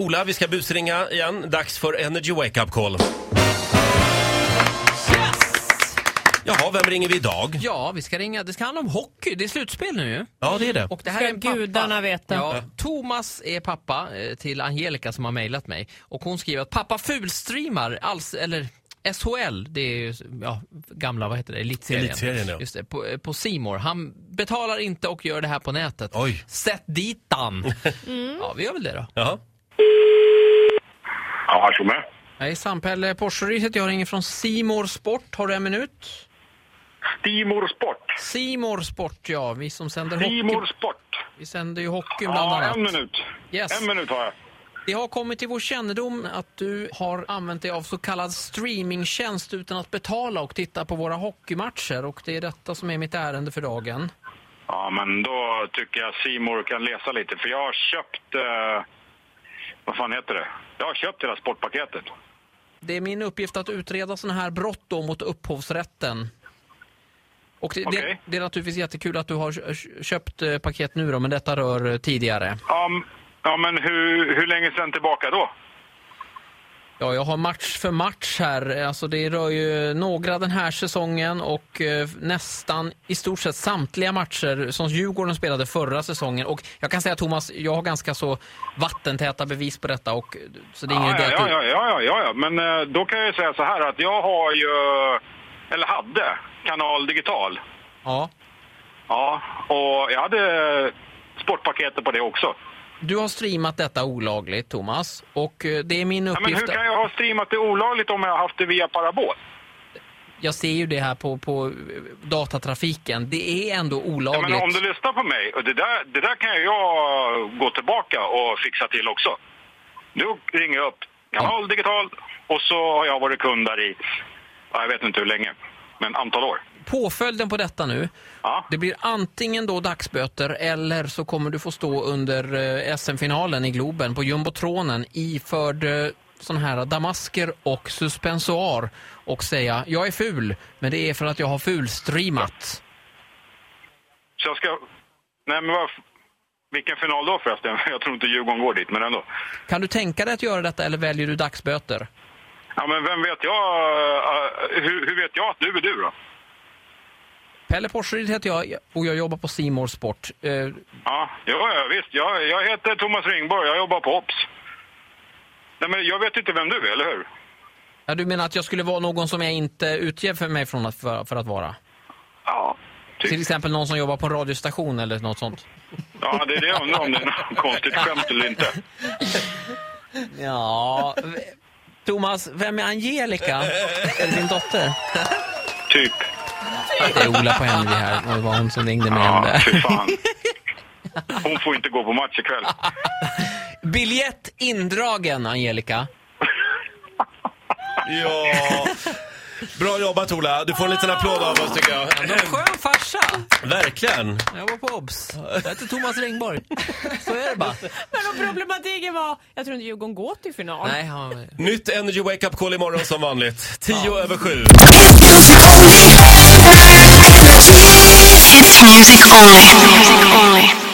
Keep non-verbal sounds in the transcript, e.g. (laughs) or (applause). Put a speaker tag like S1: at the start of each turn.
S1: Ola, vi ska busringa igen. Dags för Energy Wake Up Call. Jaha, vem ringer vi idag?
S2: Ja, vi ska ringa. Det ska handla om hockey. Det är slutspel nu ju.
S1: Ja, det är det.
S2: Och det här
S3: Ska
S2: är en pappa.
S3: gudarna veta.
S2: Ja, Thomas är pappa eh, till Angelica som har mejlat mig. Och hon skriver att pappa fulstreamar, alls, eller SHL, det är ju ja, gamla, vad heter det, elitserien.
S1: Elitserien, ja.
S2: Just det, på, eh, på Simor. Han betalar inte och gör det här på nätet.
S1: Oj.
S2: Sätt dit
S1: (laughs)
S2: han. Mm. Ja, vi gör väl det då.
S1: Jaha.
S4: Ja, tjomme.
S2: Hejsan Pelle Porseryd heter jag, ringer från Simor Sport. Har du en minut?
S4: Stimor Sport.
S2: Simor Sport ja, vi som sänder
S4: Stimor
S2: hockey.
S4: Sport.
S2: Vi sänder ju hockey bland
S4: Ja,
S2: annat.
S4: en minut.
S2: Yes.
S4: En minut har jag.
S2: Det har kommit till vår kännedom att du har använt dig av så kallad streamingtjänst utan att betala och titta på våra hockeymatcher och det är detta som är mitt ärende för dagen.
S4: Ja, men då tycker jag Simor kan läsa lite, för jag har köpt... Eh, vad fan heter det? Jag har köpt hela sportpaketet.
S2: Det är min uppgift att utreda sådana här brott då mot upphovsrätten. Och det, det,
S4: Okej.
S2: det är naturligtvis jättekul att du har kö- köpt eh, paket nu då, men detta rör eh, tidigare.
S4: Ja, m- ja men hur, hur länge sedan tillbaka då?
S2: Ja, jag har match för match här. Alltså det rör ju några den här säsongen och eh, nästan i stort sett samtliga matcher som Djurgården spelade förra säsongen. Och jag kan säga Thomas, jag har ganska så vattentäta bevis på detta. Och, så det är ingen
S4: Ja,
S2: idé att
S4: ja,
S2: du-
S4: ja, ja, ja, ja, ja. Men eh, då kan jag ju säga så här att jag har ju... Eller hade Kanal Digital.
S2: Ja.
S4: Ja, och jag hade sportpaketet på det också.
S2: Du har streamat detta olagligt, Thomas. Och eh, det är min
S4: Ja, men
S2: uppgift...
S4: hur kan jag ha streamat det olagligt om jag har haft det via parabol?
S2: Jag ser ju det här på, på eh, datatrafiken. Det är ändå
S4: Ja,
S2: olagligt.
S4: men om du lyssnar på mig, och det där, det där kan ju jag gå tillbaka och fixa till också. Du ringer jag upp Kanal Digital och så har jag varit kund där i, ja, jag vet inte hur länge, men antal år.
S2: Påföljden på detta nu,
S4: Ja.
S2: det blir antingen då dagsböter eller så kommer du få stå under eh, SM-finalen i Globen på jumbotronen iförd eh, sån här damasker och suspensoar och säga jag är ful, men det är för att jag har fulstreamat.
S4: Så jag ska... Nej, men vad, vilken final då förresten? (laughs) Jag tror inte Djurgården går dit, men ändå.
S2: Kan du tänka dig att göra detta eller väljer du dagsböter?
S4: Ja, men vem vet jag... eh, hur, hur vet jag att du är du då?
S2: Pelle Porseryd heter jag och jag jobbar på Simor Sport. Eh,
S4: Ja, ja ja, visst. Jag, jag heter Thomas Ringborg, jag jobbar på OPS. Nej, men jag vet inte vem du är, eller hur?
S2: Ja, du menar att jag skulle vara någon som jag inte utger för mig från att, för, för att vara?
S4: Ja.
S2: Till
S4: Typ.
S2: exempel någon som jobbar på en radiostation eller något sånt?
S4: Ja, det är det jag undrar om det är något konstigt skämt eller inte.
S2: Ja, v- Thomas, vem är Angelica? Är det din dotter?
S4: Typ.
S2: Det är Ola på Henry här. Det var hon som ringde mig om
S4: Ja,
S2: det.
S4: fy fan. Hon får inte gå på match ikväll.
S2: Biljett indragen, Angelica.
S1: Ja. (laughs) Bra jobbat Ola. Du får en liten applåd av oss tycker jag.
S2: Skön farsa!
S1: Verkligen.
S2: Jag var på OBS. Jag heter Thomas Ringborg. Så är det bara.
S3: Men om problematiken var, jag tror inte Djurgården går till final.
S2: Nej, ja,
S1: Nytt Energy Wake Up Call imorgon som vanligt. 10 över 7.
S5: It's music only. Music only.